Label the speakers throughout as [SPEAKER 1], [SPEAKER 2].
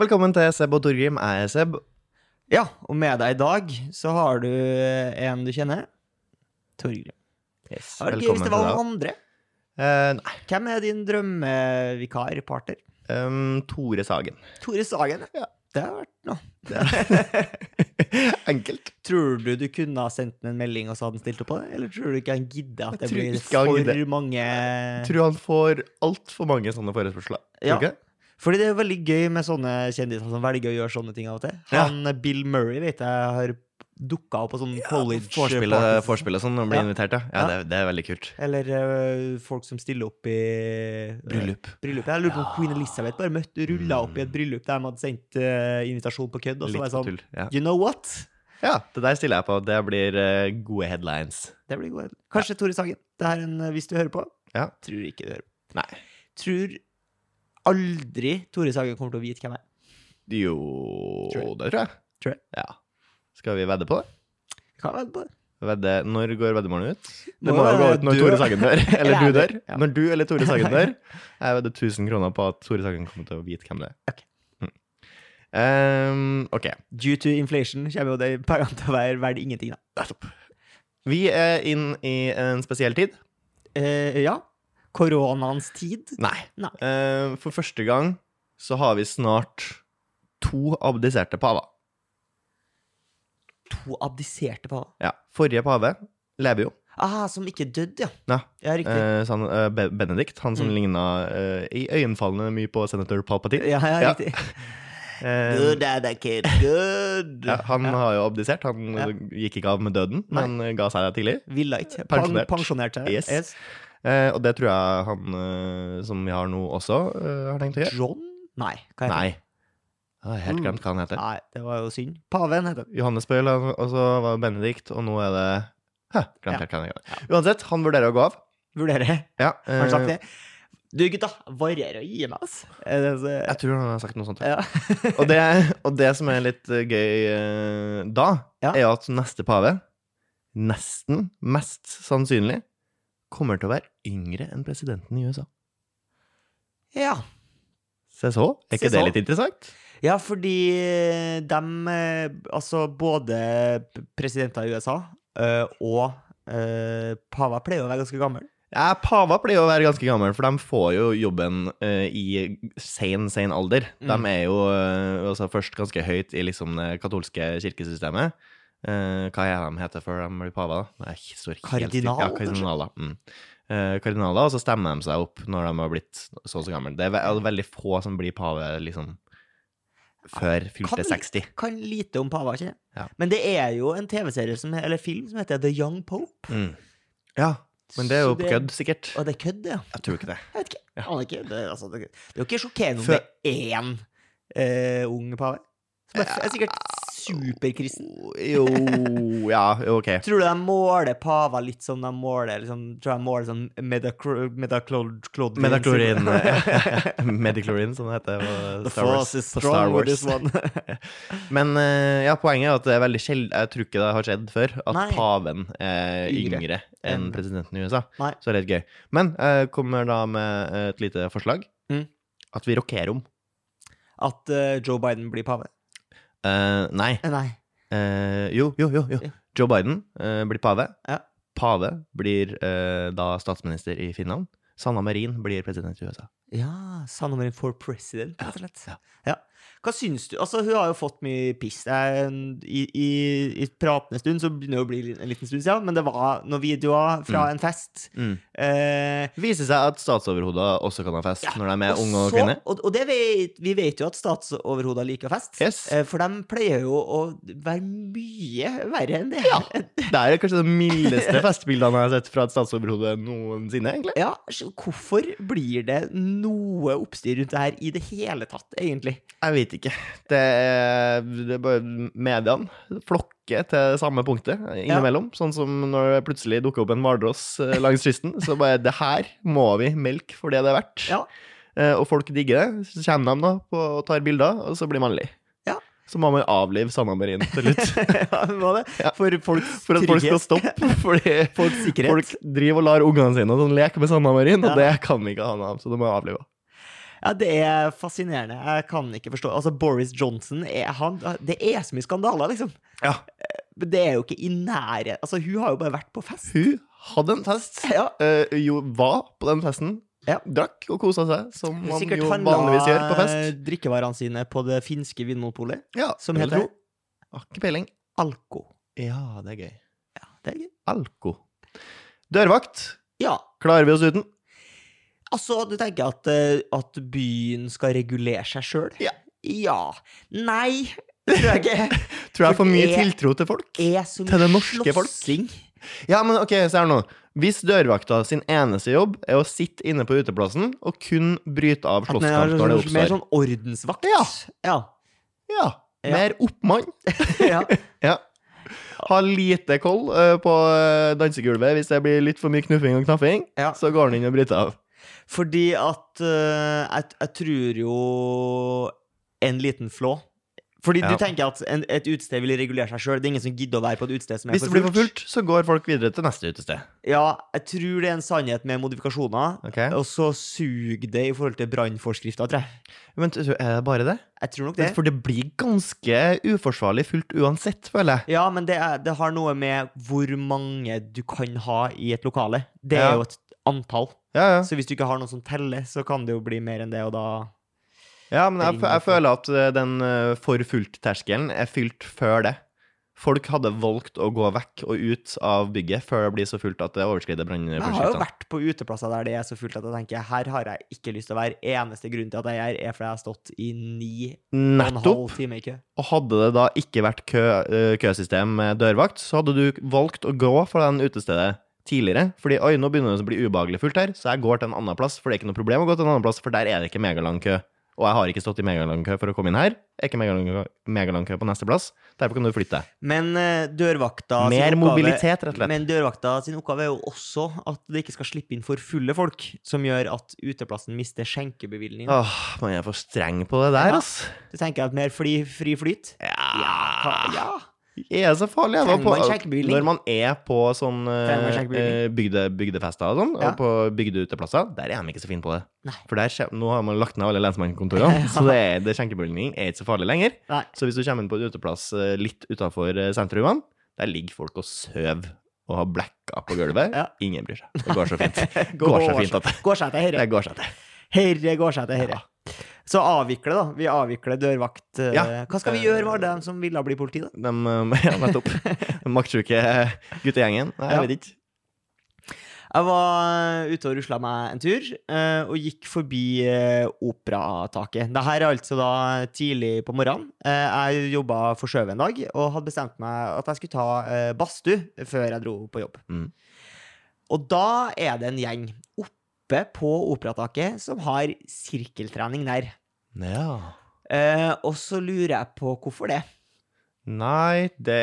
[SPEAKER 1] Velkommen til Seb og Torgrim. Jeg er Seb.
[SPEAKER 2] Ja, og med deg i dag så har du eh, en du kjenner. Torgrim.
[SPEAKER 1] Yes,
[SPEAKER 2] Det hadde vært gøy hvis det var
[SPEAKER 1] deg
[SPEAKER 2] noen andre.
[SPEAKER 1] Eh, nei,
[SPEAKER 2] Hvem er din drømmevikarpartner?
[SPEAKER 1] ehm, Tore Sagen.
[SPEAKER 2] Tore Sagen.
[SPEAKER 1] Ja.
[SPEAKER 2] Det har vært noe.
[SPEAKER 1] Enkelt.
[SPEAKER 2] Tror du du kunne ha sendt ham en melding, og så hadde han stilt opp på det? Eller tror du ikke han gidder
[SPEAKER 1] Jeg
[SPEAKER 2] at det
[SPEAKER 1] tror
[SPEAKER 2] blir
[SPEAKER 1] ikke han
[SPEAKER 2] for
[SPEAKER 1] gidder.
[SPEAKER 2] mange
[SPEAKER 1] Tror han får altfor mange sånne forespørsler.
[SPEAKER 2] Ja.
[SPEAKER 1] Tror du ikke?
[SPEAKER 2] Fordi det er veldig gøy med sånne kjendiser som velger å gjøre sånne ting av og til.
[SPEAKER 1] Ja.
[SPEAKER 2] Han eh, Bill Murray vet jeg har dukka opp på sånne college
[SPEAKER 1] Forspillet,
[SPEAKER 2] parties.
[SPEAKER 1] forspillet sånn, når man blir
[SPEAKER 2] Ja.
[SPEAKER 1] invitert, ja. ja
[SPEAKER 2] Ja.
[SPEAKER 1] det, er- det er veldig kult.
[SPEAKER 2] Eller eh, folk som stiller opp i eh,
[SPEAKER 1] Bryllup.
[SPEAKER 2] bryllup. Jeg lurer på om
[SPEAKER 1] Ja.
[SPEAKER 2] Queen Elizabeth bare møtte rulla opp i et bryllup der de hadde sendt eh, invitasjon på kødd. Og så
[SPEAKER 1] Litt
[SPEAKER 2] var jeg sånn
[SPEAKER 1] tull. Ja.
[SPEAKER 2] You know what?
[SPEAKER 1] ja, det der stiller jeg på. Det blir eh, gode headlines.
[SPEAKER 2] Det blir god Kanskje Tore Sagen. Det her er en, eh, hvis du hører på.
[SPEAKER 1] Ja.
[SPEAKER 2] Tror ikke du hører på.
[SPEAKER 1] Nei.
[SPEAKER 2] Tror aldri Tore Sagen kommer til å vite hvem jeg er.
[SPEAKER 1] Jo,
[SPEAKER 2] Tror
[SPEAKER 1] det tror jeg.
[SPEAKER 2] Tror jeg.
[SPEAKER 1] Ja. Skal vi vedde på det?
[SPEAKER 2] Vi kan vedde på det.
[SPEAKER 1] Vedde, når går veddemålet ut? Det
[SPEAKER 2] Nå
[SPEAKER 1] må jo gå
[SPEAKER 2] er
[SPEAKER 1] ut når
[SPEAKER 2] du-
[SPEAKER 1] Tore Sagen dør. Eller
[SPEAKER 2] Eller
[SPEAKER 1] du
[SPEAKER 2] jeg
[SPEAKER 1] dør.
[SPEAKER 2] dør. Ja.
[SPEAKER 1] Når du eller Tore Sagen dør. Jeg vedder 1000 kroner på at Tore Sagen kommer til å vite hvem det er.
[SPEAKER 2] Ok.
[SPEAKER 1] Mm. Ehm, ok.
[SPEAKER 2] Due to inflation kommer jo de pengene til å være verdt ingenting, da.
[SPEAKER 1] Vi er inn i en spesiell tid.
[SPEAKER 2] Eh, ja. Koronaens tid.
[SPEAKER 1] Nei.
[SPEAKER 2] Nei.
[SPEAKER 1] Eh, for første gang så har vi snart to abdiserte paver.
[SPEAKER 2] To abdiserte paver.
[SPEAKER 1] Ja. Forrige pave lever jo.
[SPEAKER 2] Ah, som ikke døde, ja.
[SPEAKER 1] Ja.
[SPEAKER 2] Ja, riktig.
[SPEAKER 1] Eh, så han, eh, Be- Benedikt, han som
[SPEAKER 2] Mm.
[SPEAKER 1] ligna eh, i øyenfallene mye på senator Palpatine.
[SPEAKER 2] ja, ja,
[SPEAKER 1] ja.
[SPEAKER 2] riktig.
[SPEAKER 1] Eh,
[SPEAKER 2] Ada Kid, good.
[SPEAKER 1] ja, han
[SPEAKER 2] Ja.
[SPEAKER 1] har jo abdisert. Han
[SPEAKER 2] Ja.
[SPEAKER 1] eh, gikk ikke av med døden,
[SPEAKER 2] Nei.
[SPEAKER 1] men eh, ga seg tidlig.
[SPEAKER 2] Ville ikke. Pang,
[SPEAKER 1] Pensjonert.
[SPEAKER 2] pensjonert seg.
[SPEAKER 1] Yes. Eh, og det tror jeg han eh, som vi har nå også, eh, har tenkt å gjøre.
[SPEAKER 2] John? Nei, hva heter han?
[SPEAKER 1] Nei. Jeg har
[SPEAKER 2] Mm.
[SPEAKER 1] helt glemt hva han heter.
[SPEAKER 2] Nei, det var jo synd. Paven heter han.
[SPEAKER 1] Johannes Bøhl, han- og så var det Benedikt, og nå er det Hæ,
[SPEAKER 2] Ja.
[SPEAKER 1] glemt helt hva han heter. Uansett, han vurderer å gå av.
[SPEAKER 2] Vurderer.
[SPEAKER 1] Ja,
[SPEAKER 2] Har han sagt
[SPEAKER 1] eh,
[SPEAKER 2] det? Du, gutta, varer å gi meg, ass. Er det så-
[SPEAKER 1] Jeg tror han har sagt noe sånt.
[SPEAKER 2] Ja.
[SPEAKER 1] og, det, og det som er litt eh, gøy eh, da,
[SPEAKER 2] Ja.
[SPEAKER 1] er jo at neste pave, nesten mest sannsynlig, kommer til å være yngre enn presidenten i USA.
[SPEAKER 2] ja.
[SPEAKER 1] Se så, er ikke
[SPEAKER 2] Se
[SPEAKER 1] det
[SPEAKER 2] så.
[SPEAKER 1] litt interessant?
[SPEAKER 2] Ja, fordi dem eh, Altså, både p- presidenter i USA eh, og eh, paver pleier å være ganske gammel.
[SPEAKER 1] Ja, Pava pleier å være ganske gammel, for de får jo jobben eh, i sen, sen alder. De
[SPEAKER 2] Mm.
[SPEAKER 1] er jo eh, altså først ganske høyt i liksom det katolske kirkesystemet. Eh, hva er de heter før de blir pava? da? Jeg står helt stille.
[SPEAKER 2] Kardinal,
[SPEAKER 1] Ja, kardinaler. Mm. Eh, kardinaler, og så stemmer de seg opp når de har blitt så og så gamle. Det er ve veldig få som blir pave liksom før fylte
[SPEAKER 2] Kan-
[SPEAKER 1] 60.
[SPEAKER 2] Kan lite om paver, ikke sant?
[SPEAKER 1] Ja.
[SPEAKER 2] Men det er jo en TV-serie som, eller film som heter The Young Pope.
[SPEAKER 1] Mm. Ja, men det er jo
[SPEAKER 2] Så
[SPEAKER 1] på kødd, sikkert.
[SPEAKER 2] Og det er kødd, ja.
[SPEAKER 1] Jeg tror ikke det.
[SPEAKER 2] Jeg vet ikke. Jeg aner ikke. Det, er altså, det, det er jo ikke sjokkerende om
[SPEAKER 1] Før-
[SPEAKER 2] det er én eh, ung pave. Som er, f- er sikkert superkristen.
[SPEAKER 1] Jo, ja, jo, ok.
[SPEAKER 2] Tror du de måler paver litt som de måler liksom, Tror jeg måler sånn Medaclorin eh,
[SPEAKER 1] Medaklorin. Mediklorin, som det heter på
[SPEAKER 2] The
[SPEAKER 1] Star Wars.
[SPEAKER 2] force is
[SPEAKER 1] på Star
[SPEAKER 2] strong with this
[SPEAKER 1] Wars.
[SPEAKER 2] one.
[SPEAKER 1] Men eh, ja, poenget er at det er veldig sjeldent Jeg tror ikke det har skjedd før at
[SPEAKER 2] Nei.
[SPEAKER 1] paven er
[SPEAKER 2] Yngre
[SPEAKER 1] yngre, enn
[SPEAKER 2] enn-
[SPEAKER 1] presidenten i USA.
[SPEAKER 2] Nei.
[SPEAKER 1] Så det er litt gøy. Men jeg kommer da med eh, et lite forslag.
[SPEAKER 2] Mm.
[SPEAKER 1] At vi rokerer om.
[SPEAKER 2] At eh, Joe Biden blir pave.
[SPEAKER 1] Eh, nei.
[SPEAKER 2] Eh, Nei.
[SPEAKER 1] Eh, jo, jo, jo, jo.
[SPEAKER 2] Ja.
[SPEAKER 1] Joe Biden eh, blir pave.
[SPEAKER 2] Ja.
[SPEAKER 1] Pave blir eh, da statsminister i Finland. Sanna Marin blir president i USA.
[SPEAKER 2] Ja, Sanna Marin for president, rett og slett. Ja. Hva syns du? Altså, hun har jo fått mye piss. Det er en- I, i, i pratende stund så begynner det å bli en liten stund siden, men det var noen videoer fra en fest.
[SPEAKER 1] Mm.
[SPEAKER 2] Eh,
[SPEAKER 1] Viser seg at statsoverhoder også kan ha fest
[SPEAKER 2] Ja,
[SPEAKER 1] når de er unge og
[SPEAKER 2] så-
[SPEAKER 1] kvinner.
[SPEAKER 2] Og, og det vet, vi vet jo at statsoverhoder liker fest,
[SPEAKER 1] Yes.
[SPEAKER 2] eh, for de pleier jo å være mye verre enn det.
[SPEAKER 1] Det er kanskje de mildeste festbildene jeg har sett fra et statsoverhode noensinne, egentlig.
[SPEAKER 2] Ja, så hvorfor blir det noe oppstyr rundt det her i det hele tatt, egentlig?
[SPEAKER 1] Jeg vet ikke. Det er, det er bare mediene flokker til det samme punktet innimellom. Sånn som når det plutselig dukker opp en hvalross eh, langs kysten. Så bare det her må vi melke for det det er verdt.
[SPEAKER 2] Ja.
[SPEAKER 1] Eh, Og folk digger det. Så kommer de da på, og tar bilder, og så blir man lei.
[SPEAKER 2] Ja.
[SPEAKER 1] Så må man avlive Sanna Marin til slutt.
[SPEAKER 2] Ja, det var det. For folks
[SPEAKER 1] For at folk skal
[SPEAKER 2] trygghet.
[SPEAKER 1] stoppe. Fordi
[SPEAKER 2] Folks sikkerhet.
[SPEAKER 1] Folk driver og lar ungene sine og sånn leke med Sanna Marin, og
[SPEAKER 2] Ja.
[SPEAKER 1] det kan vi ikke ha noe av, så det må jeg avlive.
[SPEAKER 2] Ja, det er fascinerende. Jeg kan ikke forstå Altså, Boris Johnson er han Det er så mye skandaler, liksom.
[SPEAKER 1] Ja.
[SPEAKER 2] Men det er jo ikke i nære Altså, hun har jo bare vært på fest.
[SPEAKER 1] Hun hadde en fest.
[SPEAKER 2] Ja.
[SPEAKER 1] Eh, jo, var på den festen.
[SPEAKER 2] Ja.
[SPEAKER 1] Drakk og kosa seg, som
[SPEAKER 2] Hun
[SPEAKER 1] man
[SPEAKER 2] sikkert
[SPEAKER 1] jo
[SPEAKER 2] handla
[SPEAKER 1] vanligvis gjør på fest.
[SPEAKER 2] drikkevarene sine på det finske vinmonopolet,
[SPEAKER 1] Ja,
[SPEAKER 2] eh, som
[SPEAKER 1] det vil
[SPEAKER 2] heter
[SPEAKER 1] jeg tro. Har ikke peiling.
[SPEAKER 2] Alko.
[SPEAKER 1] Ja, det er gøy.
[SPEAKER 2] Ja, det er gøy.
[SPEAKER 1] Alko. Dørvakt.
[SPEAKER 2] Ja,
[SPEAKER 1] Klarer vi oss uten?
[SPEAKER 2] Altså, du tenker at, eh, at byen skal regulere seg sjøl?
[SPEAKER 1] Ja.
[SPEAKER 2] ja. Nei, det tror jeg ikke.
[SPEAKER 1] Tror jeg har for mye
[SPEAKER 2] Det-
[SPEAKER 1] tiltro til folk.
[SPEAKER 2] Er så
[SPEAKER 1] Til det
[SPEAKER 2] mye
[SPEAKER 1] norske folk.
[SPEAKER 2] slåssing.
[SPEAKER 1] Ja, men ok, se her nå. Hvis dørvakta sin eneste jobb er å sitte inne på uteplassen og kun bryte av
[SPEAKER 2] At den er
[SPEAKER 1] slåsskamp når det
[SPEAKER 2] Mer
[SPEAKER 1] oppstår
[SPEAKER 2] sånn ordensvakt.
[SPEAKER 1] Ja.
[SPEAKER 2] Ja.
[SPEAKER 1] Ja, mer oppmann.
[SPEAKER 2] ja.
[SPEAKER 1] Ha lite koll eh, på eh, dansegulvet hvis det blir litt for mye knuffing og knaffing.
[SPEAKER 2] Ja.
[SPEAKER 1] Så går han inn og bryter av.
[SPEAKER 2] Fordi at eh, jeg, jeg tror jo en liten flå Fordi
[SPEAKER 1] Ja.
[SPEAKER 2] du tenker at en, et utested vil regulere seg sjøl. Det er ingen som gidder å være på et utested som er
[SPEAKER 1] Hvis det blir for fullt, så går folk videre til neste utested.
[SPEAKER 2] Ja, jeg tror det er en sannhet med modifikasjoner.
[SPEAKER 1] Ok?
[SPEAKER 2] Og så suger det i forhold til brannforskrifta, tror jeg.
[SPEAKER 1] Men t- er det bare det?
[SPEAKER 2] Jeg tror nok det.
[SPEAKER 1] For det blir ganske uforsvarlig fullt uansett, føler jeg.
[SPEAKER 2] Ja, men det, er, det har noe med hvor mange du kan ha i et lokale. Det er
[SPEAKER 1] Ja.
[SPEAKER 2] jo et antall.
[SPEAKER 1] Ja, ja.
[SPEAKER 2] Så hvis du ikke har noen som teller, så kan det jo bli mer enn det, og da
[SPEAKER 1] Ja, men jeg,
[SPEAKER 2] Ring
[SPEAKER 1] fø- jeg
[SPEAKER 2] og
[SPEAKER 1] føler at eh, den eh, for fullt-terskelen er fylt før det. Folk hadde valgt å gå vekk og ut av bygget før det blir så fullt at det overskrider
[SPEAKER 2] Jeg har jo
[SPEAKER 1] brannforskriftene.
[SPEAKER 2] vært på uteplasser der det er så fullt at jeg tenker her har jeg ikke lyst til å være. Eneste grunn til at jeg er her, er fordi jeg har stått i ni og en
[SPEAKER 1] Nettopp!
[SPEAKER 2] halv time i kø.
[SPEAKER 1] Og hadde det da ikke vært kø, eh, køsystem med dørvakt, så hadde du valgt å gå fra den utestedet tidligere. Fordi oi, nå begynner det å bli ubehagelig fullt her, så jeg går til en annen plass. For det er ikke noe problem å gå til en annen plass, for der er det ikke megalang kø. Og jeg har ikke stått i megalang kø for å komme inn her. Er ikke megalang, megalang kø på neste plass. Derfor kan du flytte deg.
[SPEAKER 2] Men eh, dørvakta sin
[SPEAKER 1] Mer
[SPEAKER 2] oppgave-
[SPEAKER 1] mobilitet, rett og slett.
[SPEAKER 2] Men dørvakta sin oppgave er jo også at det ikke skal slippe inn for fulle folk, som gjør at uteplassen mister skjenkebevilgningen.
[SPEAKER 1] Åh, man er for streng på det der,
[SPEAKER 2] Ja.
[SPEAKER 1] ass.
[SPEAKER 2] Du tenker at mer fri, fri flyt?
[SPEAKER 1] Ja.
[SPEAKER 2] hva- ja.
[SPEAKER 1] Er det så farlig? Ah, Jeg var
[SPEAKER 2] Trenger
[SPEAKER 1] på,
[SPEAKER 2] man skjenkebevilling?
[SPEAKER 1] når man er på sånn
[SPEAKER 2] Trenger man
[SPEAKER 1] eh,
[SPEAKER 2] skjenkebevilling?
[SPEAKER 1] eh, bygde, bygdefester og sånn,
[SPEAKER 2] Ja.
[SPEAKER 1] og på bygdeuteplasser, der er de ikke så fine på det.
[SPEAKER 2] Nei.
[SPEAKER 1] For der, skje- nå har man lagt ned alle lensmannskontorene,
[SPEAKER 2] Ja.
[SPEAKER 1] så det, er- det skjenkebevilgning er ikke så farlig lenger.
[SPEAKER 2] Nei.
[SPEAKER 1] Så hvis du kommer inn på en uteplass eh, litt utafor sentrumene, der ligger folk og søver og har blacka på gulvet.
[SPEAKER 2] Ja.
[SPEAKER 1] Ingen bryr seg. Det går så fint. Går så fint at det-
[SPEAKER 2] Går seg til herre.
[SPEAKER 1] det går seg til.
[SPEAKER 2] Herre går seg til herre.
[SPEAKER 1] Ja.
[SPEAKER 2] Så avvikle, da. Vi avvikler dørvakt. eh,
[SPEAKER 1] Ja.
[SPEAKER 2] Hva skal vi gjøre med alle dem som ville bli politi, da?
[SPEAKER 1] De, eh, ja, nettopp. Den maktsjuke guttegjengen. Nei, jeg
[SPEAKER 2] Ja.
[SPEAKER 1] vet ikke.
[SPEAKER 2] Jeg var eh, ute og rusla meg en tur, eh, og gikk forbi eh, operataket. Dette er altså da tidlig på morgenen. Eh, Jeg jobba for Sjøve en dag, og hadde bestemt meg at jeg skulle ta eh, badstue før jeg dro på jobb.
[SPEAKER 1] Mm.
[SPEAKER 2] Og da er det en gjeng oppe på operataket som har sirkeltrening der.
[SPEAKER 1] Ja.
[SPEAKER 2] Eh, og så lurer jeg på hvorfor det.
[SPEAKER 1] Nei, det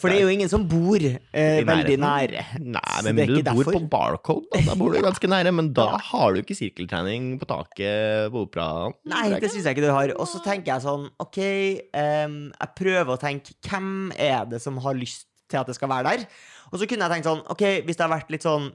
[SPEAKER 2] For det er jo ingen som bor eh,
[SPEAKER 1] I
[SPEAKER 2] veldig
[SPEAKER 1] nærheten.
[SPEAKER 2] nære.
[SPEAKER 1] Nei,
[SPEAKER 2] Så
[SPEAKER 1] men
[SPEAKER 2] det er
[SPEAKER 1] du
[SPEAKER 2] ikke
[SPEAKER 1] bor på
[SPEAKER 2] derfor.
[SPEAKER 1] Barcode, da. da bor du ganske nære. Men da
[SPEAKER 2] Ja.
[SPEAKER 1] har du ikke sirkeltrening på taket på operaen.
[SPEAKER 2] Nei, det syns jeg ikke du har. Og så tenker jeg sånn, OK, em, jeg prøver å tenke hvem er det som har lyst til at det skal være der? Og så kunne jeg tenkt sånn, OK, hvis det har vært litt sånn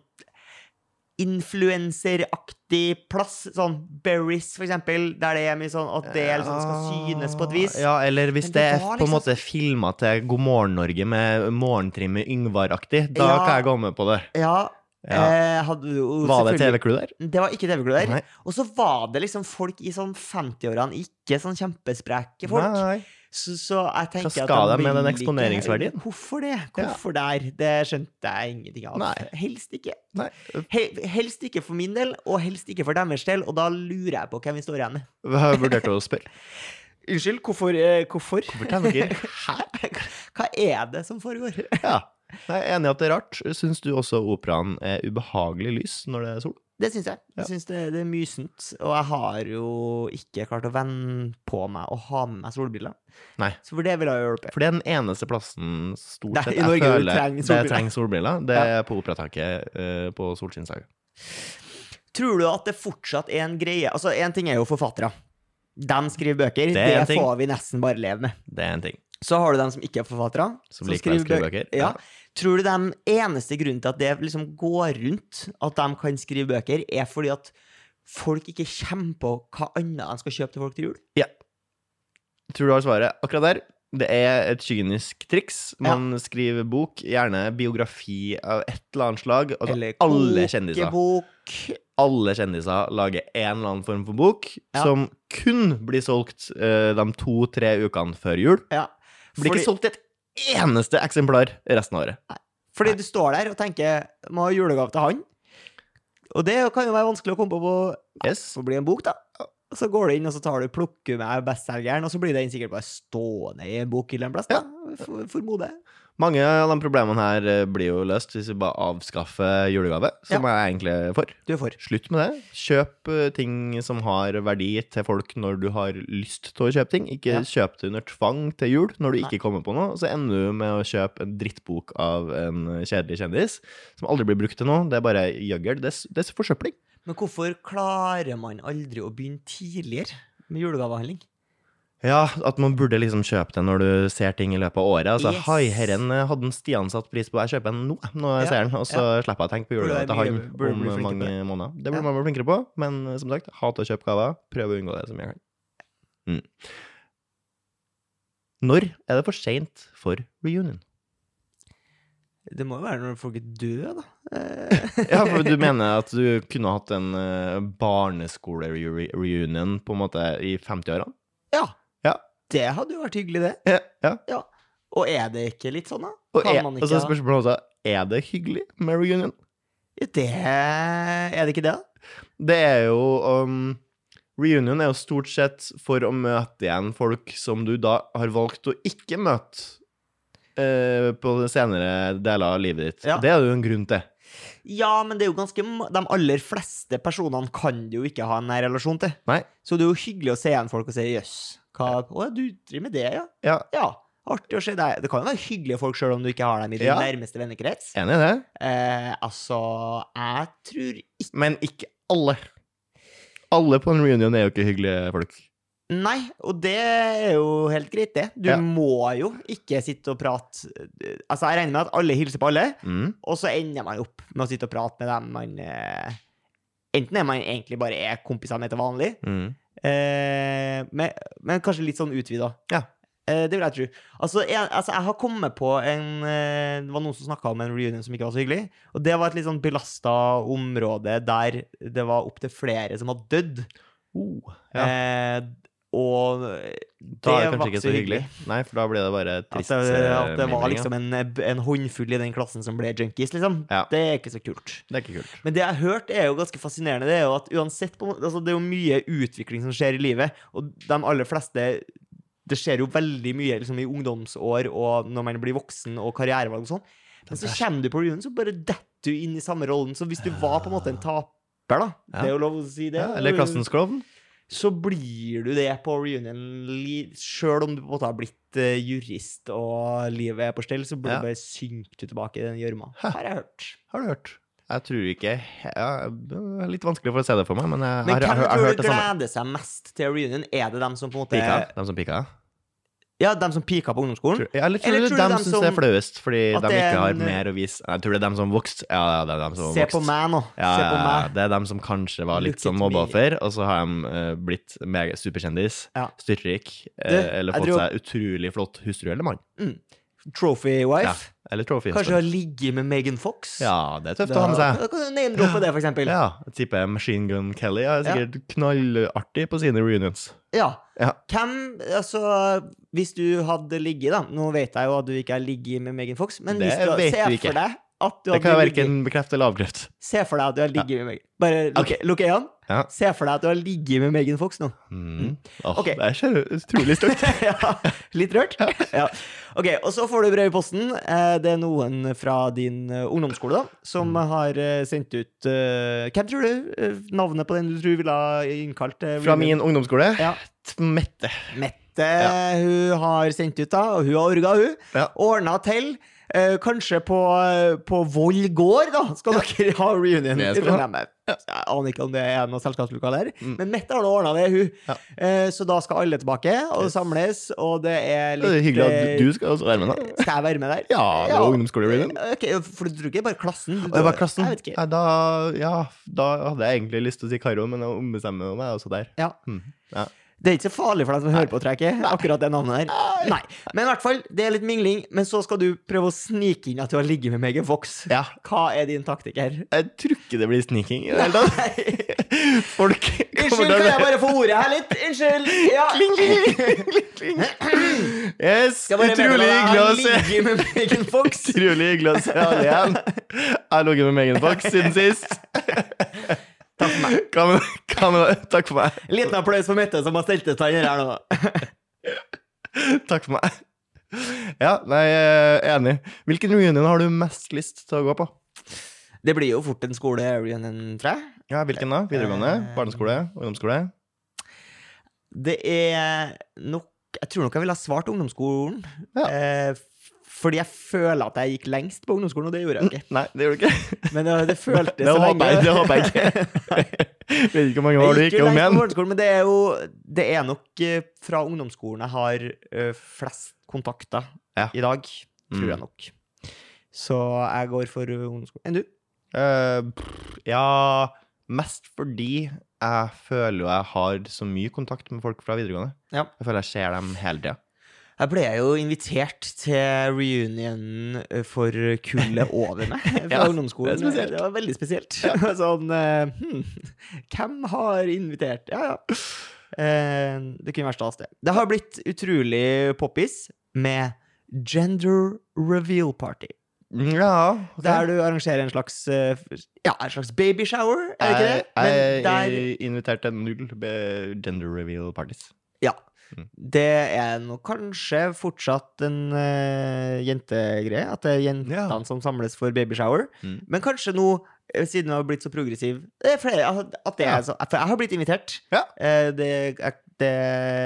[SPEAKER 2] influenseraktig plass, sånn Berries, for eksempel, der det er mye sånn at det er liksom skal synes på et vis.
[SPEAKER 1] Ja, eller hvis det,
[SPEAKER 2] Men det
[SPEAKER 1] er
[SPEAKER 2] var
[SPEAKER 1] på en
[SPEAKER 2] liksom-
[SPEAKER 1] måte filma til God morgen Norge med morgentrim med Yngvar-aktig, da
[SPEAKER 2] Ja.
[SPEAKER 1] kan jeg gå med på det.
[SPEAKER 2] Ja,
[SPEAKER 1] Ja.
[SPEAKER 2] eh, hadde jo
[SPEAKER 1] Var det
[SPEAKER 2] selvfølgelig-
[SPEAKER 1] TV-crew der?
[SPEAKER 2] Det var ikke TV-klubb der.
[SPEAKER 1] Nei.
[SPEAKER 2] Og så var det liksom folk i sånn 50-årene, ikke sånn kjempespreke folk.
[SPEAKER 1] Nei.
[SPEAKER 2] Så, så jeg tenker
[SPEAKER 1] Hva
[SPEAKER 2] at
[SPEAKER 1] skal
[SPEAKER 2] de
[SPEAKER 1] de med den
[SPEAKER 2] vil ikke-
[SPEAKER 1] eksponeringsverdien?
[SPEAKER 2] Hvorfor det? Hvorfor der? Det skjønte jeg ingenting av.
[SPEAKER 1] Nei.
[SPEAKER 2] Helst ikke.
[SPEAKER 1] Nei.
[SPEAKER 2] He helst ikke for min del, og helst ikke for deres del, og da lurer jeg på hvem vi står igjen med.
[SPEAKER 1] Jeg vurderte å spørre.
[SPEAKER 2] Unnskyld, hvorfor? eh, hvorfor?
[SPEAKER 1] Hvorfor tenker
[SPEAKER 2] Hva er det som foregår?
[SPEAKER 1] Ja. Nei, Jeg er enig i at det er rart. Syns du også operaen er ubehagelig lys når det er sol?
[SPEAKER 2] Det syns jeg.
[SPEAKER 1] Ja.
[SPEAKER 2] Jeg syns det, det er mysent. Og jeg har jo ikke klart å vende på meg å ha med meg solbriller.
[SPEAKER 1] Nei.
[SPEAKER 2] Så for det vil jeg hjelpe.
[SPEAKER 1] For det er den eneste plassen stort
[SPEAKER 2] Der
[SPEAKER 1] sett
[SPEAKER 2] i
[SPEAKER 1] jeg
[SPEAKER 2] Norge du
[SPEAKER 1] føler
[SPEAKER 2] trenger
[SPEAKER 1] det
[SPEAKER 2] solbriller.
[SPEAKER 1] trenger solbriller. Det er på operataket eh, på Solskinnshaga.
[SPEAKER 2] Tror du at det fortsatt er en greie Altså, én ting er jo forfattere. De skriver bøker.
[SPEAKER 1] Det
[SPEAKER 2] Det,
[SPEAKER 1] er en ting.
[SPEAKER 2] får vi nesten bare leve med.
[SPEAKER 1] Det er en ting
[SPEAKER 2] Så har du dem som ikke er forfattere.
[SPEAKER 1] som likevel skriver bøker.
[SPEAKER 2] Ja. Tror du den eneste grunnen til at det liksom går rundt, at de kan skrive bøker, er fordi at folk ikke kommer på hva annet de skal kjøpe til folk til jul.
[SPEAKER 1] Tror du har svaret akkurat der. Det er et kynisk triks. Man skriver bok, gjerne biografi av et eller annet slag. Altså, alle kjendiser.
[SPEAKER 2] kokebok.
[SPEAKER 1] Alle kjendiser lager en eller annen form for bok
[SPEAKER 2] Ja.
[SPEAKER 1] som kun blir solgt eh, de to-tre ukene før jul.
[SPEAKER 2] Ja.
[SPEAKER 1] Blir
[SPEAKER 2] Fordi-
[SPEAKER 1] ikke solgt et eneste eksemplar resten av året.
[SPEAKER 2] Fordi du står der og tenker må ha julegave til han. Og det kan jo være vanskelig å komme på på
[SPEAKER 1] Yes.
[SPEAKER 2] så blir det en bok, da. Og så går du inn og så tar du plukker med bestselgeren, og så blir den sikkert bare stående i en bokhylle en plass. da. For- Formoder jeg.
[SPEAKER 1] Mange av de problemene her eh, blir jo løst hvis vi bare avskaffer julegave, som jeg egentlig er for.
[SPEAKER 2] Du er for.
[SPEAKER 1] Slutt med det. Kjøp eh, ting som har verdi til folk når du har lyst til å kjøpe ting. Ikke
[SPEAKER 2] Ja.
[SPEAKER 1] kjøp det under tvang til jul når du ikke kommer på noe. Så ender du med å kjøpe en drittbok av en eh, kjedelig kjendis som aldri blir brukt til noe. Det er bare gjøgl. Det, er s- det er forsøpling.
[SPEAKER 2] Men hvorfor klarer man aldri å begynne tidligere med julegavehandling?
[SPEAKER 1] Ja, at man burde liksom kjøpe det når du ser ting i løpet av året. Altså,
[SPEAKER 2] Yes.
[SPEAKER 1] Hei, herren eh, hadde en Stian satt pris på, jeg kjøper den nå. Nå
[SPEAKER 2] Ja,
[SPEAKER 1] jeg ser den, og så slipper jeg å tenke på
[SPEAKER 2] Burde
[SPEAKER 1] julegave til
[SPEAKER 2] være
[SPEAKER 1] han
[SPEAKER 2] mye- burde
[SPEAKER 1] om
[SPEAKER 2] bli flinkere på
[SPEAKER 1] mange måneder. Det
[SPEAKER 2] Ja.
[SPEAKER 1] burde man bli flinkere på, men eh, som sagt, hater å kjøpe gaver. Prøv å unngå det så mye jeg kan. Mm. Når er det for seint for reunion?
[SPEAKER 2] Det må jo være når folk er døde, da. Eh,
[SPEAKER 1] Ja, for du mener at du kunne hatt en eh, barneskole-reunion på en måte i 50-årene?
[SPEAKER 2] ja.
[SPEAKER 1] Ja.
[SPEAKER 2] Det hadde jo vært hyggelig, det.
[SPEAKER 1] Ja, ja.
[SPEAKER 2] Og er det ikke litt sånn, da?
[SPEAKER 1] Og,
[SPEAKER 2] Kan
[SPEAKER 1] er, og
[SPEAKER 2] man ikke
[SPEAKER 1] så er
[SPEAKER 2] ha-
[SPEAKER 1] spørsmålet også, er det hyggelig med reunion?
[SPEAKER 2] Det Er det ikke det, da?
[SPEAKER 1] Det er jo um, Reunion er jo stort sett for å møte igjen folk som du da har valgt å ikke møte eh, på det senere deler av livet ditt.
[SPEAKER 2] Ja.
[SPEAKER 1] Det er det jo en grunn til.
[SPEAKER 2] Ja, men det er jo ganske ma- De aller fleste personene kan du jo ikke ha en nær relasjon til.
[SPEAKER 1] Nei.
[SPEAKER 2] Så det er jo hyggelig å se igjen folk og si 'jøss, hva Å ja, du driver med det, ja'?
[SPEAKER 1] Ja,
[SPEAKER 2] Ja, artig å se deg. Det kan jo være hyggelige folk sjøl om du ikke har dem i din
[SPEAKER 1] Ja.
[SPEAKER 2] nærmeste vennekrets.
[SPEAKER 1] enig i det,
[SPEAKER 2] Eh, altså, jeg tror ikke
[SPEAKER 1] men ikke alle. Alle på en reunion er jo ikke hyggelige folk.
[SPEAKER 2] Nei, og det er jo helt greit, det. Du
[SPEAKER 1] Ja.
[SPEAKER 2] må jo ikke sitte og prate Altså, jeg regner med at alle hilser på alle,
[SPEAKER 1] Mm.
[SPEAKER 2] og så ender man opp med å sitte og prate med dem man eh, Enten er man egentlig bare er kompisene med til vanlig,
[SPEAKER 1] Mm.
[SPEAKER 2] Eh, men, men kanskje litt sånn utvida.
[SPEAKER 1] Ja.
[SPEAKER 2] Eh, det vil jeg tro. Altså, jeg, altså, jeg har kommet på en eh, Det var noen som snakka om en reunion som ikke var så hyggelig. Og det var et litt sånn belasta område der det var opptil flere som hadde dødd.
[SPEAKER 1] ja.
[SPEAKER 2] Eh, og
[SPEAKER 1] Oh. Da er
[SPEAKER 2] det
[SPEAKER 1] det
[SPEAKER 2] var
[SPEAKER 1] kanskje ikke så hyggelig. Nei, for da blir det bare
[SPEAKER 2] At
[SPEAKER 1] trist.
[SPEAKER 2] det, at
[SPEAKER 1] eh,
[SPEAKER 2] det var
[SPEAKER 1] mimring, ja.
[SPEAKER 2] liksom en, en håndfull i den klassen som ble junkies, liksom.
[SPEAKER 1] Ja.
[SPEAKER 2] Det er ikke så kult.
[SPEAKER 1] Det er ikke kult.
[SPEAKER 2] Men det jeg har hørt, er jo ganske fascinerende. Det er jo at uansett på, en måte- altså Det er jo mye utvikling som skjer i livet, og de aller fleste Det skjer jo veldig mye liksom, i ungdomsår og når man blir voksen og karrierevalg og sånn. Men så kommer du på reunion, så bare detter du inn i samme rollen. Så hvis du var på en måte en taper, da,
[SPEAKER 1] Ja.
[SPEAKER 2] det er jo lov å si det,
[SPEAKER 1] Ja, eller klassens klovn.
[SPEAKER 2] så blir du det på reunion. Sjøl om du på en måte har blitt eh, jurist og livet er på stell, så blir
[SPEAKER 1] Ja.
[SPEAKER 2] du bare synkt tilbake i den gjørma.
[SPEAKER 1] Hæ.
[SPEAKER 2] Har jeg hørt.
[SPEAKER 1] Har du hørt? Jeg tror ikke ja, Det er litt vanskelig for å se det for meg, men jeg,
[SPEAKER 2] Men
[SPEAKER 1] har,
[SPEAKER 2] hvem
[SPEAKER 1] jeg, har
[SPEAKER 2] tror
[SPEAKER 1] hørt
[SPEAKER 2] du
[SPEAKER 1] det samme.
[SPEAKER 2] gleder seg mest til reunion? Er det dem som på en måte
[SPEAKER 1] Pika? De som pika?
[SPEAKER 2] Ja, dem som pika på ungdomsskolen?
[SPEAKER 1] Tror, ja, eller tror du det er dem som er flauest fordi
[SPEAKER 2] at
[SPEAKER 1] de
[SPEAKER 2] det er
[SPEAKER 1] ikke har
[SPEAKER 2] en- eh,
[SPEAKER 1] mer å vise? Jeg tror det er dem som vokste. Ja, ja, det er dem som
[SPEAKER 2] Se
[SPEAKER 1] vokste.
[SPEAKER 2] på meg nå.
[SPEAKER 1] Ja,
[SPEAKER 2] Se
[SPEAKER 1] ja,
[SPEAKER 2] på
[SPEAKER 1] ja,
[SPEAKER 2] meg.
[SPEAKER 1] det er dem som kanskje var
[SPEAKER 2] Look
[SPEAKER 1] litt sånn
[SPEAKER 2] at
[SPEAKER 1] mobbeoffer, og så har de eh, blitt mega superkjendis,
[SPEAKER 2] Ja.
[SPEAKER 1] styrtrik, eh,
[SPEAKER 2] Du,
[SPEAKER 1] eller
[SPEAKER 2] jeg
[SPEAKER 1] fått
[SPEAKER 2] tror-
[SPEAKER 1] seg utrolig flott hustru eller mann.
[SPEAKER 2] Trophy
[SPEAKER 1] Ja,
[SPEAKER 2] wife.
[SPEAKER 1] eller trophy
[SPEAKER 2] Kanskje
[SPEAKER 1] husband.
[SPEAKER 2] har ligget med Megan Fox?
[SPEAKER 1] Ja, det er tøft å
[SPEAKER 2] Da-
[SPEAKER 1] ha med seg.
[SPEAKER 2] Da kan du name-droppe det, for eksempel. Ja.
[SPEAKER 1] Ja, jeg tipper Machine Gun Kelly er sikkert knallartig på sine reunions. Ja.
[SPEAKER 2] Hvem Altså, hvis du hadde ligget, da Nå vet jeg jo at du ikke har ligget med Megan Fox, men
[SPEAKER 1] Det
[SPEAKER 2] hvis du
[SPEAKER 1] vet
[SPEAKER 2] se
[SPEAKER 1] du ikke.
[SPEAKER 2] for deg at du
[SPEAKER 1] Det kan
[SPEAKER 2] hadde
[SPEAKER 1] jeg
[SPEAKER 2] ligget
[SPEAKER 1] verken bekrefte eller avkrefte.
[SPEAKER 2] Se for deg at du har ligget med Megan Bare lukk
[SPEAKER 1] Ok.
[SPEAKER 2] lukk øynene.
[SPEAKER 1] Ja.
[SPEAKER 2] Se for deg at du har ligget med Megan Fox nå.
[SPEAKER 1] Mm. Åh,
[SPEAKER 2] Ok.
[SPEAKER 1] Det er så utrolig stort.
[SPEAKER 2] ja, litt rørt? Ja. Ok, og så får du brev i posten. Eh, Det er noen fra din eh, ungdomsskole da, som
[SPEAKER 1] Mm.
[SPEAKER 2] har eh, sendt ut eh, Hvem tror du eh, navnet på den du tror ville ha innkalt? eh,
[SPEAKER 1] Fra
[SPEAKER 2] Wilhelm?
[SPEAKER 1] min ungdomsskole,
[SPEAKER 2] Ja.
[SPEAKER 1] t- Mette.
[SPEAKER 2] Mette hun har sendt ut, da, og hun har orga, hun.
[SPEAKER 1] Ja.
[SPEAKER 2] Ordna til. Eh, kanskje på, eh, på Voll gård, da, skal dere ha
[SPEAKER 1] Det
[SPEAKER 2] reunion. i
[SPEAKER 1] skal vi ha.
[SPEAKER 2] Trondheim. Jeg aner ikke om det er noe selskapslokale her,
[SPEAKER 1] Mm.
[SPEAKER 2] men Mette har nå ordna det, hun.
[SPEAKER 1] Ja.
[SPEAKER 2] Eh, så da skal alle tilbake og
[SPEAKER 1] Yes.
[SPEAKER 2] samles, og det er
[SPEAKER 1] Det
[SPEAKER 2] litt
[SPEAKER 1] er hyggelig
[SPEAKER 2] eh,
[SPEAKER 1] at du skal også være med, da.
[SPEAKER 2] Skal jeg være med der?
[SPEAKER 1] Ja, det er
[SPEAKER 2] Ja. Eh,
[SPEAKER 1] jo ungdomsskole-reunion.
[SPEAKER 2] Ok, for du tror ikke bare klassen? Du,
[SPEAKER 1] Og jeg bare klassen.
[SPEAKER 2] Jeg vet ikke.
[SPEAKER 1] Nei, da, ja, da hadde jeg egentlig lyst til å si Karo, men jeg ombestemmer meg også der.
[SPEAKER 2] Ja.
[SPEAKER 1] Mm.
[SPEAKER 2] Det er ikke så farlig for deg som hører på, tror jeg ikke. Akkurat det navnet der. Nei. Men i hvert fall, det er litt mingling. Men så skal du prøve å snike inn at du har ligget med meg i Vox.
[SPEAKER 1] Ja,
[SPEAKER 2] Hva er din taktikk her?
[SPEAKER 1] jeg tror ikke det blir sniking i det hele tatt.
[SPEAKER 2] Unnskyld,
[SPEAKER 1] Folk kommer
[SPEAKER 2] kan
[SPEAKER 1] til
[SPEAKER 2] jeg
[SPEAKER 1] å
[SPEAKER 2] bare få ordet her litt? Unnskyld. Ja.
[SPEAKER 1] Kling, kling, kling, kling, kling. Yes,
[SPEAKER 2] Skal bare
[SPEAKER 1] utrolig
[SPEAKER 2] meddele deg,
[SPEAKER 1] hyggelig å se
[SPEAKER 2] Han ligger med Megan Fox.
[SPEAKER 1] Utrolig hyggelig å se alle igjen. Jeg har ligget med Megan Fox siden sist. Takk for meg. Hva med, hva med, takk for meg.
[SPEAKER 2] Liten applaus for Mette, som har stelt ut han her nå.
[SPEAKER 1] Takk for meg. Ja, nei, jeg er enig. Hvilken reunion har du mest lyst til å gå på?
[SPEAKER 2] Det blir jo fort en skole-reunion, tror jeg.
[SPEAKER 1] Ja, Hvilken da?
[SPEAKER 2] Eh,
[SPEAKER 1] Videregående? Barneskole? Ungdomsskole?
[SPEAKER 2] Det er nok Jeg tror nok jeg ville ha svart ungdomsskolen.
[SPEAKER 1] Ja.
[SPEAKER 2] Eh, f- fordi jeg føler at jeg gikk lengst på ungdomsskolen, og det gjorde jeg ikke.
[SPEAKER 1] Nei, det gjør du ikke.
[SPEAKER 2] Men det, det føltes
[SPEAKER 1] Det håper jeg, det håper jeg ikke. Jeg vet ikke hvor mange år du
[SPEAKER 2] Jeg
[SPEAKER 1] gikk
[SPEAKER 2] gikk jo
[SPEAKER 1] om
[SPEAKER 2] lengst
[SPEAKER 1] igjen.
[SPEAKER 2] på barneskolen, men det er jo Det er nok eh, fra ungdomsskolen jeg har eh, flest kontakter
[SPEAKER 1] Ja.
[SPEAKER 2] i dag, tror
[SPEAKER 1] Mm.
[SPEAKER 2] jeg nok. Så jeg går for eh, ungdomsskolen. Enn du?
[SPEAKER 1] Eh, pff, ja, mest fordi jeg føler jo jeg har så mye kontakt med folk fra videregående.
[SPEAKER 2] Ja.
[SPEAKER 1] Jeg føler jeg ser dem hele tida.
[SPEAKER 2] Jeg ble jo invitert til reunionen eh, for kullet over meg eh, fra
[SPEAKER 1] Ja,
[SPEAKER 2] ungdomsskolen.
[SPEAKER 1] det er spesielt.
[SPEAKER 2] var veldig spesielt. sånn eh, hm, Hvem har invitert? Ja, ja. Eh, det kunne vært stas, det. Det har blitt utrolig poppis med gender reveal party.
[SPEAKER 1] Ja, ok.
[SPEAKER 2] Der du arrangerer en slags eh, f- Ja, en slags babyshower, er det ikke det?
[SPEAKER 1] Jeg,
[SPEAKER 2] Men der
[SPEAKER 1] jeg inviterte null be- gender reveal parties.
[SPEAKER 2] Ja.
[SPEAKER 1] Mm.
[SPEAKER 2] Det er nok kanskje fortsatt en eh, jentegreie, at det er jentene
[SPEAKER 1] Ja.
[SPEAKER 2] som samles for babyshower.
[SPEAKER 1] Mm.
[SPEAKER 2] Men kanskje nå, eh, siden jeg har blitt så progressiv Det er flere at at det
[SPEAKER 1] Ja.
[SPEAKER 2] er så, For jeg har blitt invitert.
[SPEAKER 1] Ja.
[SPEAKER 2] Eh, det, jeg, det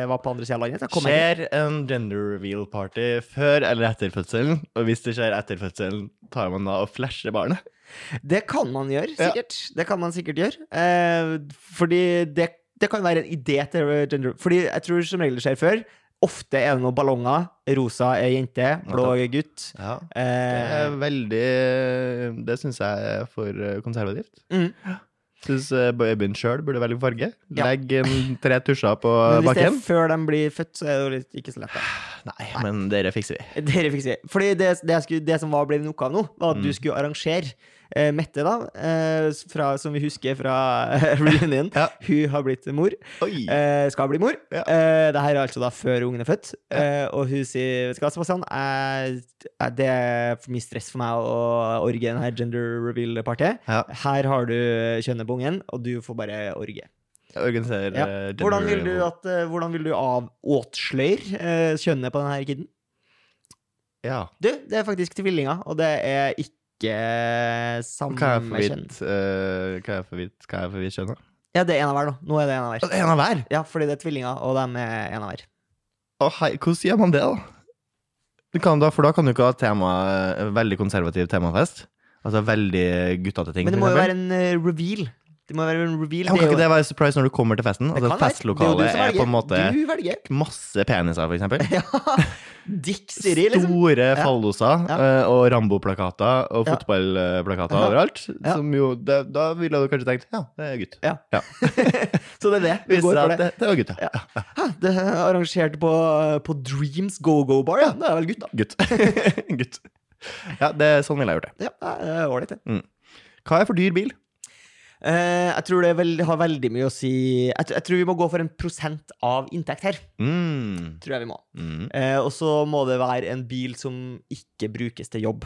[SPEAKER 2] var på andre sida av landet. så Jeg kom ikke.
[SPEAKER 1] Skjer en gender reveal party før eller etter fødselen? Og hvis det skjer etter fødselen, tar man da og flasher barnet?
[SPEAKER 2] Det kan man gjøre,
[SPEAKER 1] Ja.
[SPEAKER 2] sikkert. Det kan man sikkert gjøre. Eh, fordi det, det kan være en idé til gender Fordi jeg tror som regel det skjer før. Ofte er det noen ballonger. Rosa er jente, blå er gutt.
[SPEAKER 1] Ja. Det
[SPEAKER 2] Eh,
[SPEAKER 1] er veldig eh, Det syns jeg er for eh, konservativt. eh,
[SPEAKER 2] Mm.
[SPEAKER 1] Syns babyen sjøl burde velge farge.
[SPEAKER 2] Ja.
[SPEAKER 1] Legg en, tre tusjer på
[SPEAKER 2] Men hvis det er
[SPEAKER 1] bakken.
[SPEAKER 2] før de blir født, så er det jo litt, ikke så lett. Da.
[SPEAKER 1] Nei, men dere fikser vi.
[SPEAKER 2] Dere fikk se. Fordi det, det, jeg skulle, det som var ble min oppgave nå, var at du
[SPEAKER 1] Mm.
[SPEAKER 2] skulle arrangere. Eh, Mette, da, eh, s- fra, som vi husker fra reunion,
[SPEAKER 1] Ja.
[SPEAKER 2] hun har blitt mor.
[SPEAKER 1] Oi!
[SPEAKER 2] Eh, skal bli mor.
[SPEAKER 1] Ja.
[SPEAKER 2] Eh, det her er altså da før ungen er født. Eh, og hun sier Vet du hva, Sebastian, jeg, jeg, det er for mye stress for meg å orge denne gender reveal-partiet.
[SPEAKER 1] Ja.
[SPEAKER 2] Her har du kjønnet på ungen, og du får bare orge.
[SPEAKER 1] Jeg organiserer
[SPEAKER 2] Ja.
[SPEAKER 1] eh, gender
[SPEAKER 2] Hvordan vil du,
[SPEAKER 1] reveal.
[SPEAKER 2] at, eh, hvordan vil du av åtsløyre eh, kjønnet på denne kiden?
[SPEAKER 1] Ja.
[SPEAKER 2] Du, det er faktisk tvillinger, og det er ikke samme
[SPEAKER 1] Kan jeg få
[SPEAKER 2] kjønn.
[SPEAKER 1] vite eh, Kan jeg få vite hva jeg får vite kjønnet?
[SPEAKER 2] Ja, det er en av hver nå. Nå er det en av hver.
[SPEAKER 1] En av hver!
[SPEAKER 2] Ja, fordi det er tvillinger, og de er en av hver.
[SPEAKER 1] Å, hei, hvordan gjør man det, da? Du kan, da? For da kan du ikke ha tema, eh, veldig konservativ temafest. Altså veldig guttete ting.
[SPEAKER 2] Men det
[SPEAKER 1] for
[SPEAKER 2] må jo
[SPEAKER 1] eksempel.
[SPEAKER 2] være en eh, reveal. Det må jo være en reveal.
[SPEAKER 1] Ja, men
[SPEAKER 2] er
[SPEAKER 1] kan
[SPEAKER 2] jo-
[SPEAKER 1] ikke det være surprise når du kommer til festen?
[SPEAKER 2] det
[SPEAKER 1] Altså,
[SPEAKER 2] kan være.
[SPEAKER 1] festlokalet
[SPEAKER 2] Det jo du som
[SPEAKER 1] er på en
[SPEAKER 2] velger.
[SPEAKER 1] måte
[SPEAKER 2] Du velger.
[SPEAKER 1] masse peniser, for eksempel.
[SPEAKER 2] Ja. Dick Siri, liksom.
[SPEAKER 1] Store falloser
[SPEAKER 2] Ja.
[SPEAKER 1] eh, og Rambo-plakater og
[SPEAKER 2] Ja.
[SPEAKER 1] fotballplakater
[SPEAKER 2] Ja.
[SPEAKER 1] overalt.
[SPEAKER 2] Ja.
[SPEAKER 1] Som jo, da, da ville du kanskje tenkt ja, det er gutt.
[SPEAKER 2] Så det er det. Vi
[SPEAKER 1] Viser seg
[SPEAKER 2] går for
[SPEAKER 1] at
[SPEAKER 2] det.
[SPEAKER 1] det, det var gutt, ja.
[SPEAKER 2] Hæ, det er arrangert på, eh, på Dreams Go-Go Bar, ja. Det er vel gutt, da.
[SPEAKER 1] Gutt. gutt. Ja, det, sånn ville jeg gjort det.
[SPEAKER 2] Ja, det er ålreit, det.
[SPEAKER 1] Hva er for dyr bil?
[SPEAKER 2] Eh, jeg tror det vel, har veldig mye å si jeg, tr- jeg tror vi må gå for en prosent av inntekt her.
[SPEAKER 1] Mm.
[SPEAKER 2] Tror jeg vi må.
[SPEAKER 1] Mm.
[SPEAKER 2] Eh, og så må det være en bil som ikke brukes til jobb.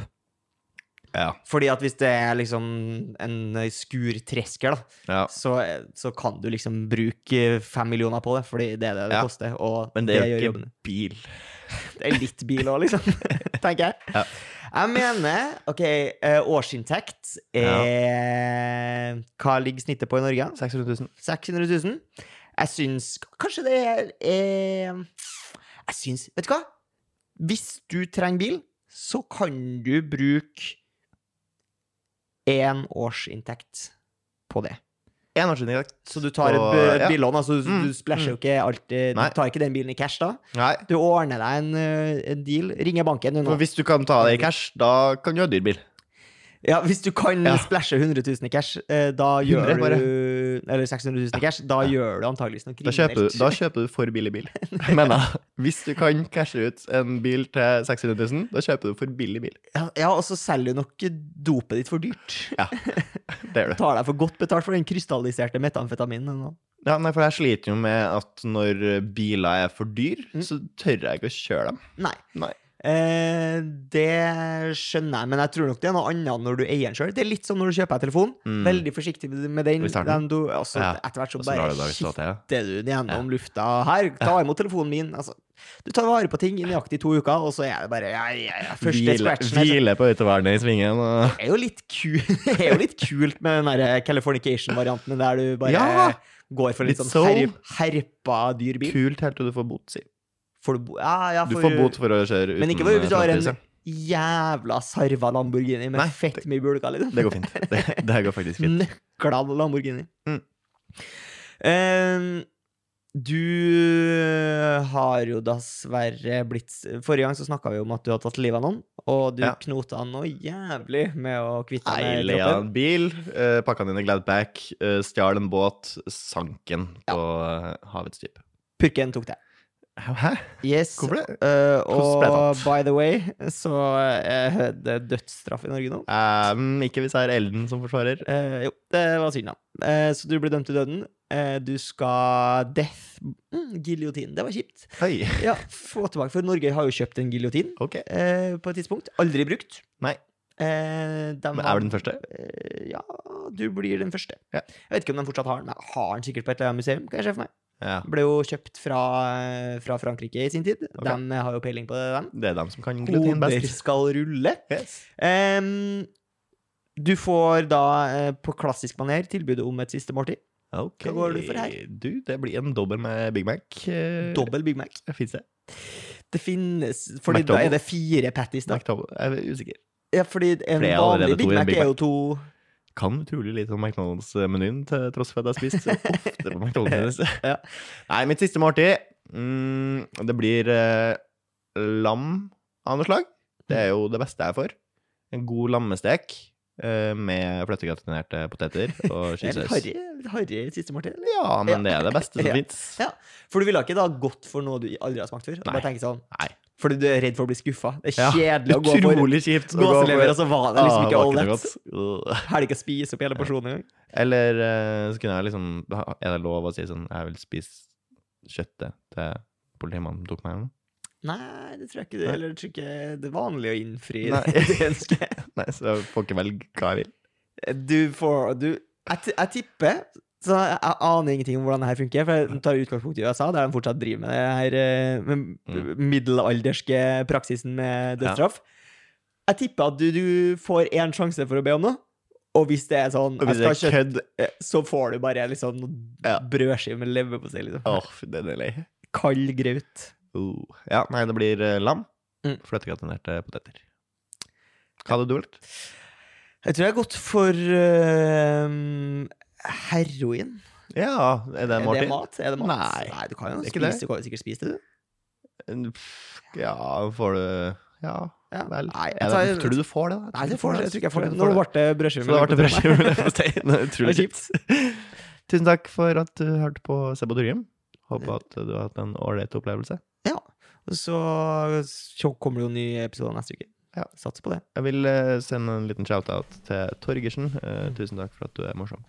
[SPEAKER 1] Ja.
[SPEAKER 2] Fordi at hvis det er liksom en skurtresker, da,
[SPEAKER 1] ja.
[SPEAKER 2] så, eh, så kan du liksom bruke fem millioner på det, fordi det er det det
[SPEAKER 1] Ja.
[SPEAKER 2] koster. Og
[SPEAKER 1] Men det er jo
[SPEAKER 2] gjør
[SPEAKER 1] ikke
[SPEAKER 2] jobben.
[SPEAKER 1] bil.
[SPEAKER 2] Det er litt bil òg, liksom. Tenker jeg.
[SPEAKER 1] Ja.
[SPEAKER 2] Jeg mener OK, eh, årsinntekt er Hva ligger snittet på i Norge?
[SPEAKER 1] 600 000.
[SPEAKER 2] 600 000. Jeg syns kanskje det er eh, Jeg syns Vet du hva? Hvis du trenger bil, så kan du bruke én årsinntekt på det.
[SPEAKER 1] En årsinntekt.
[SPEAKER 2] Så du tar et
[SPEAKER 1] Og-
[SPEAKER 2] bu- et
[SPEAKER 1] ja.
[SPEAKER 2] billån, altså du-
[SPEAKER 1] Mm,
[SPEAKER 2] du splæsjer jo ikke alt eh, Du
[SPEAKER 1] Nei.
[SPEAKER 2] tar ikke den bilen i cash da.
[SPEAKER 1] Nei.
[SPEAKER 2] Du ordner deg en, eh, en deal, ringer banken du
[SPEAKER 1] For
[SPEAKER 2] nå.
[SPEAKER 1] hvis du kan ta det i cash, da kan du ha dyr bil.
[SPEAKER 2] Ja, hvis du kan
[SPEAKER 1] Ja.
[SPEAKER 2] splæsje 100 000 i cash, eh, da
[SPEAKER 1] 100
[SPEAKER 2] gjør
[SPEAKER 1] bare.
[SPEAKER 2] du Eller 600 000 i cash, da gjør du antageligvis noe
[SPEAKER 1] Da kjøper,
[SPEAKER 2] kriminelt.
[SPEAKER 1] du, da kjøper du for billig bil. Mener jeg. Hvis du kan cashe ut en bil til 600 000, da kjøper du for billig bil.
[SPEAKER 2] Ja, ja, og så selger du nok dopet ditt for dyrt.
[SPEAKER 1] Det gjør du.
[SPEAKER 2] Tar deg for godt betalt for den krystalliserte metamfetaminen. eller noe.
[SPEAKER 1] Ja, nei, for jeg sliter jo med at når biler er for dyr,
[SPEAKER 2] Mm.
[SPEAKER 1] så tør jeg ikke å kjøre dem.
[SPEAKER 2] Nei.
[SPEAKER 1] Nei.
[SPEAKER 2] Eh, det skjønner jeg, men jeg tror nok det er noe annet når du eier den sjøl. Det er litt som når du kjøper en telefon.
[SPEAKER 1] Mm.
[SPEAKER 2] Veldig forsiktig med den.
[SPEAKER 1] Vi tar den.
[SPEAKER 2] den du, altså,
[SPEAKER 1] Ja.
[SPEAKER 2] Etter hvert så
[SPEAKER 1] Og så
[SPEAKER 2] bare
[SPEAKER 1] drar du deg ut av
[SPEAKER 2] skifter
[SPEAKER 1] det.
[SPEAKER 2] du den gjennom lufta. Her, ta imot telefonen min. Altså, du tar vare på ting i nøyaktig to uker, og så er det bare ja, ja, ja, Første
[SPEAKER 1] Hvile,
[SPEAKER 2] scratchen altså. her, så-
[SPEAKER 1] hvile på autovernet i svingen. Og...
[SPEAKER 2] Det er jo litt, ku det er jo litt kult med den der Californication-varianten der du bare
[SPEAKER 1] Ja.
[SPEAKER 2] går for en litt
[SPEAKER 1] Litt
[SPEAKER 2] sånn her
[SPEAKER 1] soul.
[SPEAKER 2] herpa dyr bil.
[SPEAKER 1] Kult helt til du får bot, si.
[SPEAKER 2] Får du, bo- ja, ja,
[SPEAKER 1] Du
[SPEAKER 2] for-
[SPEAKER 1] får bot for å kjøre uten
[SPEAKER 2] Men ikke bare hvis du har en
[SPEAKER 1] frontlyset.
[SPEAKER 2] jævla sarva Lamborghini med
[SPEAKER 1] Nei,
[SPEAKER 2] fett mye bulker, liksom.
[SPEAKER 1] Det går fint. Det, det her går faktisk fint.
[SPEAKER 2] Nøkla Lamborghini.
[SPEAKER 1] Mm.
[SPEAKER 2] Eh, du eh, har jo dessverre blitt Forrige gang så snakka vi om at du har tatt livet av noen, og du
[SPEAKER 1] Ja.
[SPEAKER 2] knota noe jævlig med å kvitte
[SPEAKER 1] Nei,
[SPEAKER 2] deg med
[SPEAKER 1] leia
[SPEAKER 2] kroppen.
[SPEAKER 1] en bil, eh, pakka den inn i Gladback, eh, stjal en båt, sank den på eh, havets dyp.
[SPEAKER 2] Purken tok det.
[SPEAKER 1] Hæ?
[SPEAKER 2] Yes.
[SPEAKER 1] Hvorfor det?
[SPEAKER 2] Eh,
[SPEAKER 1] Hvordan ble det
[SPEAKER 2] og
[SPEAKER 1] tatt?
[SPEAKER 2] by the way, så eh, det er dødsstraff i Norge nå.
[SPEAKER 1] Um, ikke hvis jeg er Elden som forsvarer.
[SPEAKER 2] Eh, jo, det var synd, da. Eh, så du ble dømt til døden. Eh, du skal death mm, Giljotin. Det var kjipt.
[SPEAKER 1] Hei,
[SPEAKER 2] Ja, få tilbake, for Norge har jo kjøpt en giljotin
[SPEAKER 1] ok.
[SPEAKER 2] eh, på et tidspunkt. Aldri brukt.
[SPEAKER 1] Nei.
[SPEAKER 2] Eh, dem
[SPEAKER 1] Men
[SPEAKER 2] har-
[SPEAKER 1] er du den første?
[SPEAKER 2] Eh, ja, du blir den første.
[SPEAKER 1] Ja.
[SPEAKER 2] Jeg vet ikke om de fortsatt har den. men Har den sikkert på et eller annet museum, kan jeg se for meg.
[SPEAKER 1] Ja.
[SPEAKER 2] Ble jo kjøpt fra, eh, fra Frankrike i sin tid. De har jo peiling på det,
[SPEAKER 1] Det er dem som kan
[SPEAKER 2] de.
[SPEAKER 1] glutin
[SPEAKER 2] Hoder
[SPEAKER 1] best.
[SPEAKER 2] skal rulle.
[SPEAKER 1] Yes.
[SPEAKER 2] Ehm, du får da eh, på klassisk maner tilbudet om et siste måltid.
[SPEAKER 1] Ok.
[SPEAKER 2] Hva går du for her?
[SPEAKER 1] Du, det blir en dobbel med Big Mac. eh,
[SPEAKER 2] Dobbel Big Mac.
[SPEAKER 1] Finnes det?
[SPEAKER 2] Det finnes Fordi da
[SPEAKER 1] McDouble?
[SPEAKER 2] er det fire patties, da.
[SPEAKER 1] McDonald's? Jeg er usikker.
[SPEAKER 2] Ja, fordi
[SPEAKER 1] For
[SPEAKER 2] en
[SPEAKER 1] det er
[SPEAKER 2] vanlig
[SPEAKER 1] allerede to
[SPEAKER 2] Big
[SPEAKER 1] i en
[SPEAKER 2] Mac
[SPEAKER 1] Big
[SPEAKER 2] er jo to
[SPEAKER 1] Kan utrolig lite om McDonald's-menyen, til tross for at jeg har spist ofte på McDonald's.
[SPEAKER 2] Ja.
[SPEAKER 1] Nei, mitt siste måltid mm, Det blir eh, lam av noe slag. Det er jo det beste jeg får. En god lammestek eh, med fløtegratinerte poteter og
[SPEAKER 2] Det er litt
[SPEAKER 1] skisaus.
[SPEAKER 2] harry, litt harry siste måltid. eller?
[SPEAKER 1] Ja, men det er det beste som
[SPEAKER 2] Ja.
[SPEAKER 1] fins.
[SPEAKER 2] Ja. For du ville ikke da gått for noe du aldri har smakt før?
[SPEAKER 1] Nei.
[SPEAKER 2] Bare tenke sånn
[SPEAKER 1] Nei.
[SPEAKER 2] Fordi du er redd for å bli skuffa. Det
[SPEAKER 1] Ja,
[SPEAKER 2] er kjedelig å gå for
[SPEAKER 1] Utrolig kjipt. å gå for-
[SPEAKER 2] gåselever, og så var det liksom
[SPEAKER 1] Ah,
[SPEAKER 2] ikke
[SPEAKER 1] var
[SPEAKER 2] all
[SPEAKER 1] ikke
[SPEAKER 2] that.
[SPEAKER 1] noe godt.
[SPEAKER 2] Har de ikke spist opp hele porsjonen engang?
[SPEAKER 1] Eller eh, så kunne jeg liksom Er det lov å si sånn Jeg vil spise kjøttet til politimannen som tok meg hjem?
[SPEAKER 2] Nei, det tror jeg ikke. Det,
[SPEAKER 1] Nei.
[SPEAKER 2] eller jeg tror ikke det er vanlig å innfri
[SPEAKER 1] Nei.
[SPEAKER 2] det ønsket.
[SPEAKER 1] Nei, så jeg får ikke velge hva jeg vil.
[SPEAKER 2] Du får du, jeg, ti- jeg tipper Så jeg, jeg aner ingenting om hvordan det her funker, for jeg tar utgangspunkt i USA, der de fortsatt driver med det her eh, med middelalderske praksisen med
[SPEAKER 1] Mm. Ja.
[SPEAKER 2] dødsstraff. Jeg tipper at du, du får én sjanse for å be om noe, og hvis det er sånn
[SPEAKER 1] Og hvis
[SPEAKER 2] jeg
[SPEAKER 1] det er
[SPEAKER 2] skal ha
[SPEAKER 1] kødd
[SPEAKER 2] kjøtt, eh, så får du bare liksom noen
[SPEAKER 1] Ja.
[SPEAKER 2] brødskiver med leverpostei. Liksom.
[SPEAKER 1] Åh, den er lei.
[SPEAKER 2] Kald graut.
[SPEAKER 1] Uh. Ja, nei, det blir eh, lam.
[SPEAKER 2] Mm.
[SPEAKER 1] Fløtegratinerte poteter. Hva hadde du valgt?
[SPEAKER 2] Jeg tror jeg har gått for eh, heroin.
[SPEAKER 1] Ja, er det
[SPEAKER 2] Er det
[SPEAKER 1] måltid?
[SPEAKER 2] mat? Er det mat?
[SPEAKER 1] Nei.
[SPEAKER 2] Nei, du kan jo
[SPEAKER 1] Det er ikke
[SPEAKER 2] spise,
[SPEAKER 1] det.
[SPEAKER 2] du kan jo sikkert spise det, du.
[SPEAKER 1] Pff, Ja, får du Ja,
[SPEAKER 2] Ja.
[SPEAKER 1] vel.
[SPEAKER 2] Nei, jeg
[SPEAKER 1] Er
[SPEAKER 2] tar,
[SPEAKER 1] det, tror du du får det? da?
[SPEAKER 2] Nei, det får, jeg tror ikke jeg får det.
[SPEAKER 1] du
[SPEAKER 2] Nå
[SPEAKER 1] får
[SPEAKER 2] ble
[SPEAKER 1] det.
[SPEAKER 2] det brødskive.
[SPEAKER 1] Så det ble brødskive med leverpostei. Det er
[SPEAKER 2] Det var
[SPEAKER 1] Utrolig kjipt. Tusen takk for at du hørte på Sebo Durgim. Håper at du har hatt en ålreit opplevelse.
[SPEAKER 2] Så, så kommer det jo en ny episode neste uke.
[SPEAKER 1] Ja.
[SPEAKER 2] Satser på det.
[SPEAKER 1] Jeg vil eh, sende en liten shout-out til Torgersen. Eh, Tusen takk for at du er morsom.